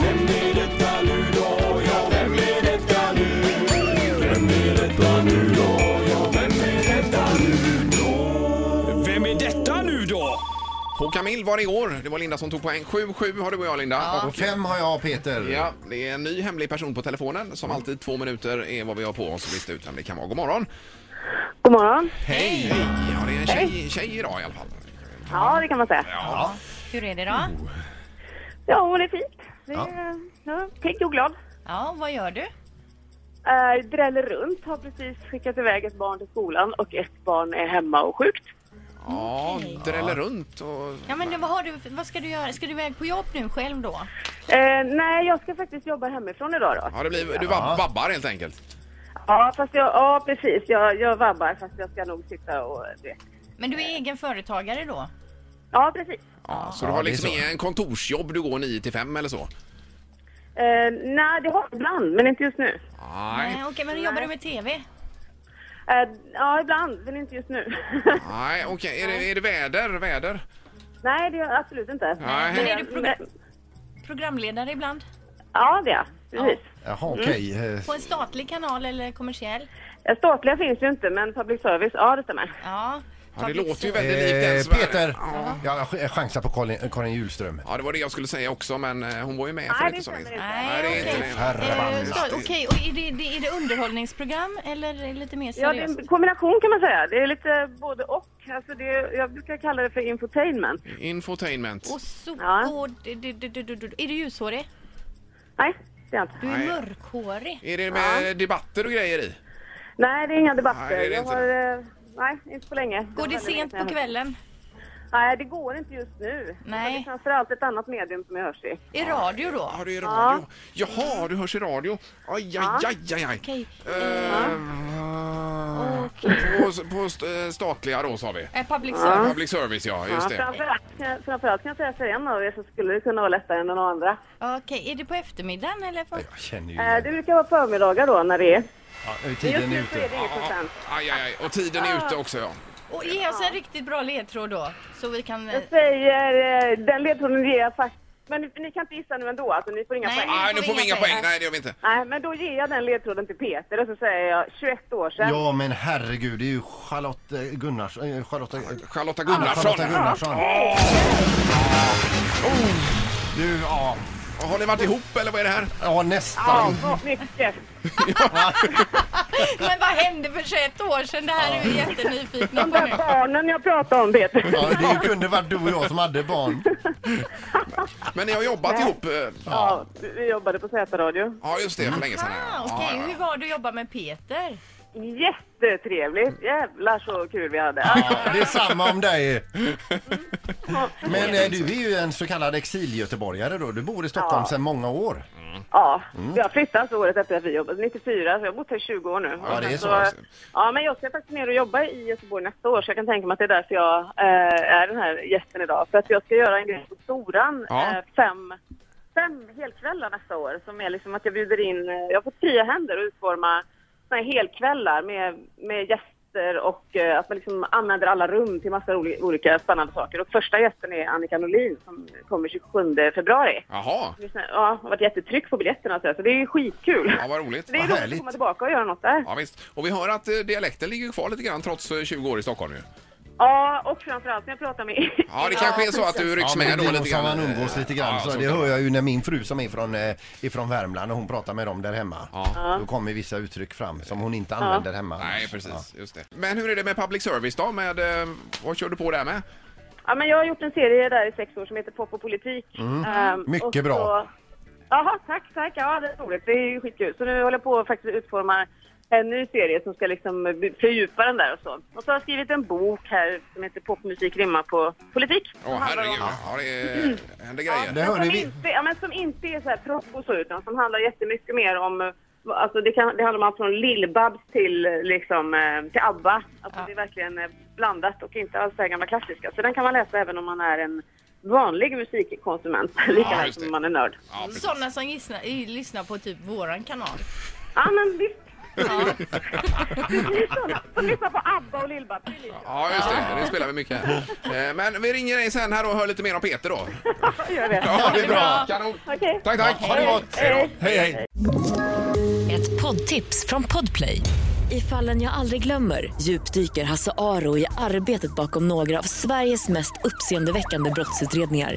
Vem är detta nu då? Ja, vem är detta nu? Vem är detta nu då? Ja, vem är detta nu då? Vem är detta nu då? Håkan Mild var det i år. Det var Linda som tog poäng. 7-7 har du och jag, Linda. Och fem har jag Peter. Och, ja, det är en ny hemlig person på telefonen. Som alltid, två minuter är vad vi har på oss att lista ut vem det kan vara. God morgon. God morgon. Hej! Ja, det är en tjej, tjej idag i alla fall. Ja, det kan man säga. Ja. Hur är det då? Ja, hon är fint. Det är, ja. Pigg och glad. Ja, vad gör du? Äh, dräller runt. Har precis skickat iväg ett barn till skolan och ett barn är hemma och sjukt. Ja, dräller runt och... Ja, men vad, har du, vad ska du göra? Ska du iväg på jobb nu själv då? Eh, nej, jag ska faktiskt jobba hemifrån idag då. Ja, det blir, du vab- vabbar helt enkelt. Ja, fast jag, ja precis. Jag, jag vabbar fast jag ska nog sitta och... Det. Men Eh. du är egen företagare då? Ja, precis. Ja, så du har det är liksom så. ingen kontorsjobb du går 9 till 5 eller så? Eh, nej, det har jag ibland, men inte just nu. Nej, Nej, Eh, okej, men jobbar du med TV? Eh, ja, ibland, men inte just nu. nej okej. Är, det, är det väder? väder? nej, det gör jag absolut inte. Nej. Men är du pro- Men- programledare ibland? Ja, det är jag. Precis. Jaha, Mm. okej. Eh, På en statlig kanal eller kommersiell? Eh, Statliga finns ju inte, men public service, ja det stämmer. Ja. Ja, det public låter ju väldigt service. likt den eh, som är- Peter, Ja. jag ch- jag chansar på Karin, Karin Julström. Ja, det var det jag skulle säga också, men eh, hon var ju med för Nej, inte det så länge stämmer sedan. inte. Nej, det är okej. inte det. Eh, Herrevandla. ska- Okej, och är det, det, är det underhållningsprogram eller lite mer Ja, det är seriöst? en kombination kan man säga. Det är lite både och. Alltså det, är- jag brukar kalla det för infotainment. Infotainment. Och så Ja. går det, det, det, det, det, det. Är du ljushårig? Nej, det är jag inte. Du är Nej. mörkhårig. Är det med debatter och grejer i? Nej, det är inga debatter. Nej, det är det jag inte. har, eh, nej, inte på länge. Går det Jag har sent väldigt- på kvällen? Nej, det går inte just nu. Alltså, Nej. Det är framförallt ett annat medium som jag hörs i. I radio då? Ja, du är i radio. Jaha, du hörs i radio. Aj, aj, aj, aj, aj. Okej. Eh, Eh, På, på st- eh, statliga då, sa vi. Eh, Public service? Public service, ja. Just Ja, det. framförallt, kan jag- framförallt kan jag säga för en av er så skulle det kunna vara lättare än den andra. Okej, är det på eftermiddagen eller? På... Jag känner ju Eh, igen. Det brukar vara förmiddagar då när det Ja, är. nu är Men Just tiden nu så är ute. det inget procent. Aj, aj, aj. Och tiden är ute också, ja. Och ge oss en riktigt bra ledtråd då, så vi kan... eh, Jag säger, eh, den ledtråden ger jag faktiskt. Men ni, ni kan inte gissa nu ändå, alltså ni får inga Nej. poäng. Nej, nu får vi inga poäng. Nej, det gör vi inte. Nej, men då ger jag den ledtråden till Peter och så säger jag 21 år sedan. Ja, men herregud, det är ju Charlotte eh, Gunnars... eh, Charlotte... eh, Charlotta Gunnarsson. Charlotta Gunnarsson. Oh! Du, ja. Har ni varit ihop eller vad är det här? Ja, Ja, nästan. vad mycket. Men vad hände för 21 år sedan? Det här är vi jättenyfikna De på nu. där barnen jag pratade om, Peter. Ja, det kunde varit du och jag som hade barn. Men ni har jobbat ihop? eh, Ja, vi- vi jobbade på Z-radio. Ja, just det, för länge sedan. Ah, ja. Okej, Ja, ja, hur var det att jobba med Peter? Jättetrevligt. Jävlar så kul vi hade. Ja, det är samma om dig. Men eh, du är ju en så kallad exilgöteborgare då. Du bor i Stockholm Ja. sedan många år. Ja, Mm. jag flyttade alltså året efter att vi jobbade, 94, så jag har bott här i 20 år nu. Ja, det är så, Så, alltså. ja, men jag ska faktiskt ner och jobba i Göteborg nästa år, så jag kan tänka mig att det är därför jag eh, är den här gästen idag. För att jag ska göra en grej på Storan, Ja. eh, fem, fem helkvällar nästa år, som är liksom att jag bjuder in, eh, jag har fått fria händer att utforma såna här helkvällar med, med gäster och eh, att man liksom använder alla rum till massa oli- olika spännande saker. Och första gästen är Annika Norlin som kommer 27 februari. Jaha, Ja, det har varit jättetryck på biljetterna så, här, så det är ju skitkul. ja, vad roligt. Så det är vad roligt härligt. att komma tillbaka och göra något där. Ja, visst. Och vi hör att eh, dialekten ligger kvar lite grann trots eh, 20 år i Stockholm ju. Ja, och framförallt när jag pratar med Ja, det kanske är så att du rycks Ja, med men det då är nog lite som grann. man umgås lite grann. Ja, så så det kan hör det jag ju när min fru som är från, eh, ifrån Värmland och hon pratar med dem där hemma. Ja. Då kommer vissa uttryck fram som hon inte använder hemma. Nej, annars. precis. Ja. Just det. Men hur är det med public service då? Med, eh, vad kör du på där med? Ja, men jag har gjort en serie där i sex år som heter Pop och politik. Mm. Ehm, Mycket och så- bra. Jaha, tack, tack. Ja, det är roligt. Det är ju skitkul. Så nu håller jag på att faktiskt utforma en ny serie som ska liksom eh, fördjupa den där och så. Och så har jag skrivit en bok här som heter Popmusik rimmar på politik. Åh, Som handlar om- herregud. Ja, det Eh, händer grejer. Det Men hörde som, vi. inte, ja, men som inte är så här proffs och så, utan som handlar jättemycket mer om... eh, Alltså det, kan, det handlar om allt från Lill-Babs till, eh, liksom, eh, till ABBA. Alltså Ja. Det är verkligen eh, blandat och inte alls det här gamla klassiska. Så den kan man läsa även om man är en vanlig musikkonsument, lika väl just det. som man är nörd. Ja, precis. Sådana som gissna, i- lyssnar på typ våran kanal. Ja, men visst. Så lyssna på ABBA och Lill-Babs. det är lite- Ja, just det. Det spelar vi mycket här. Eh, Men vi ringer dig sen här och hör lite mer om Peter då. Gör det. Ja, det är bra. Kanon. Okej. Tack, tack. Ha det gott. Hej. Hej, hej. Ett poddtips från Podplay. I fallen jag aldrig glömmer djupdyker Hasse Aro i arbetet bakom några av Sveriges mest uppseendeväckande brottsutredningar.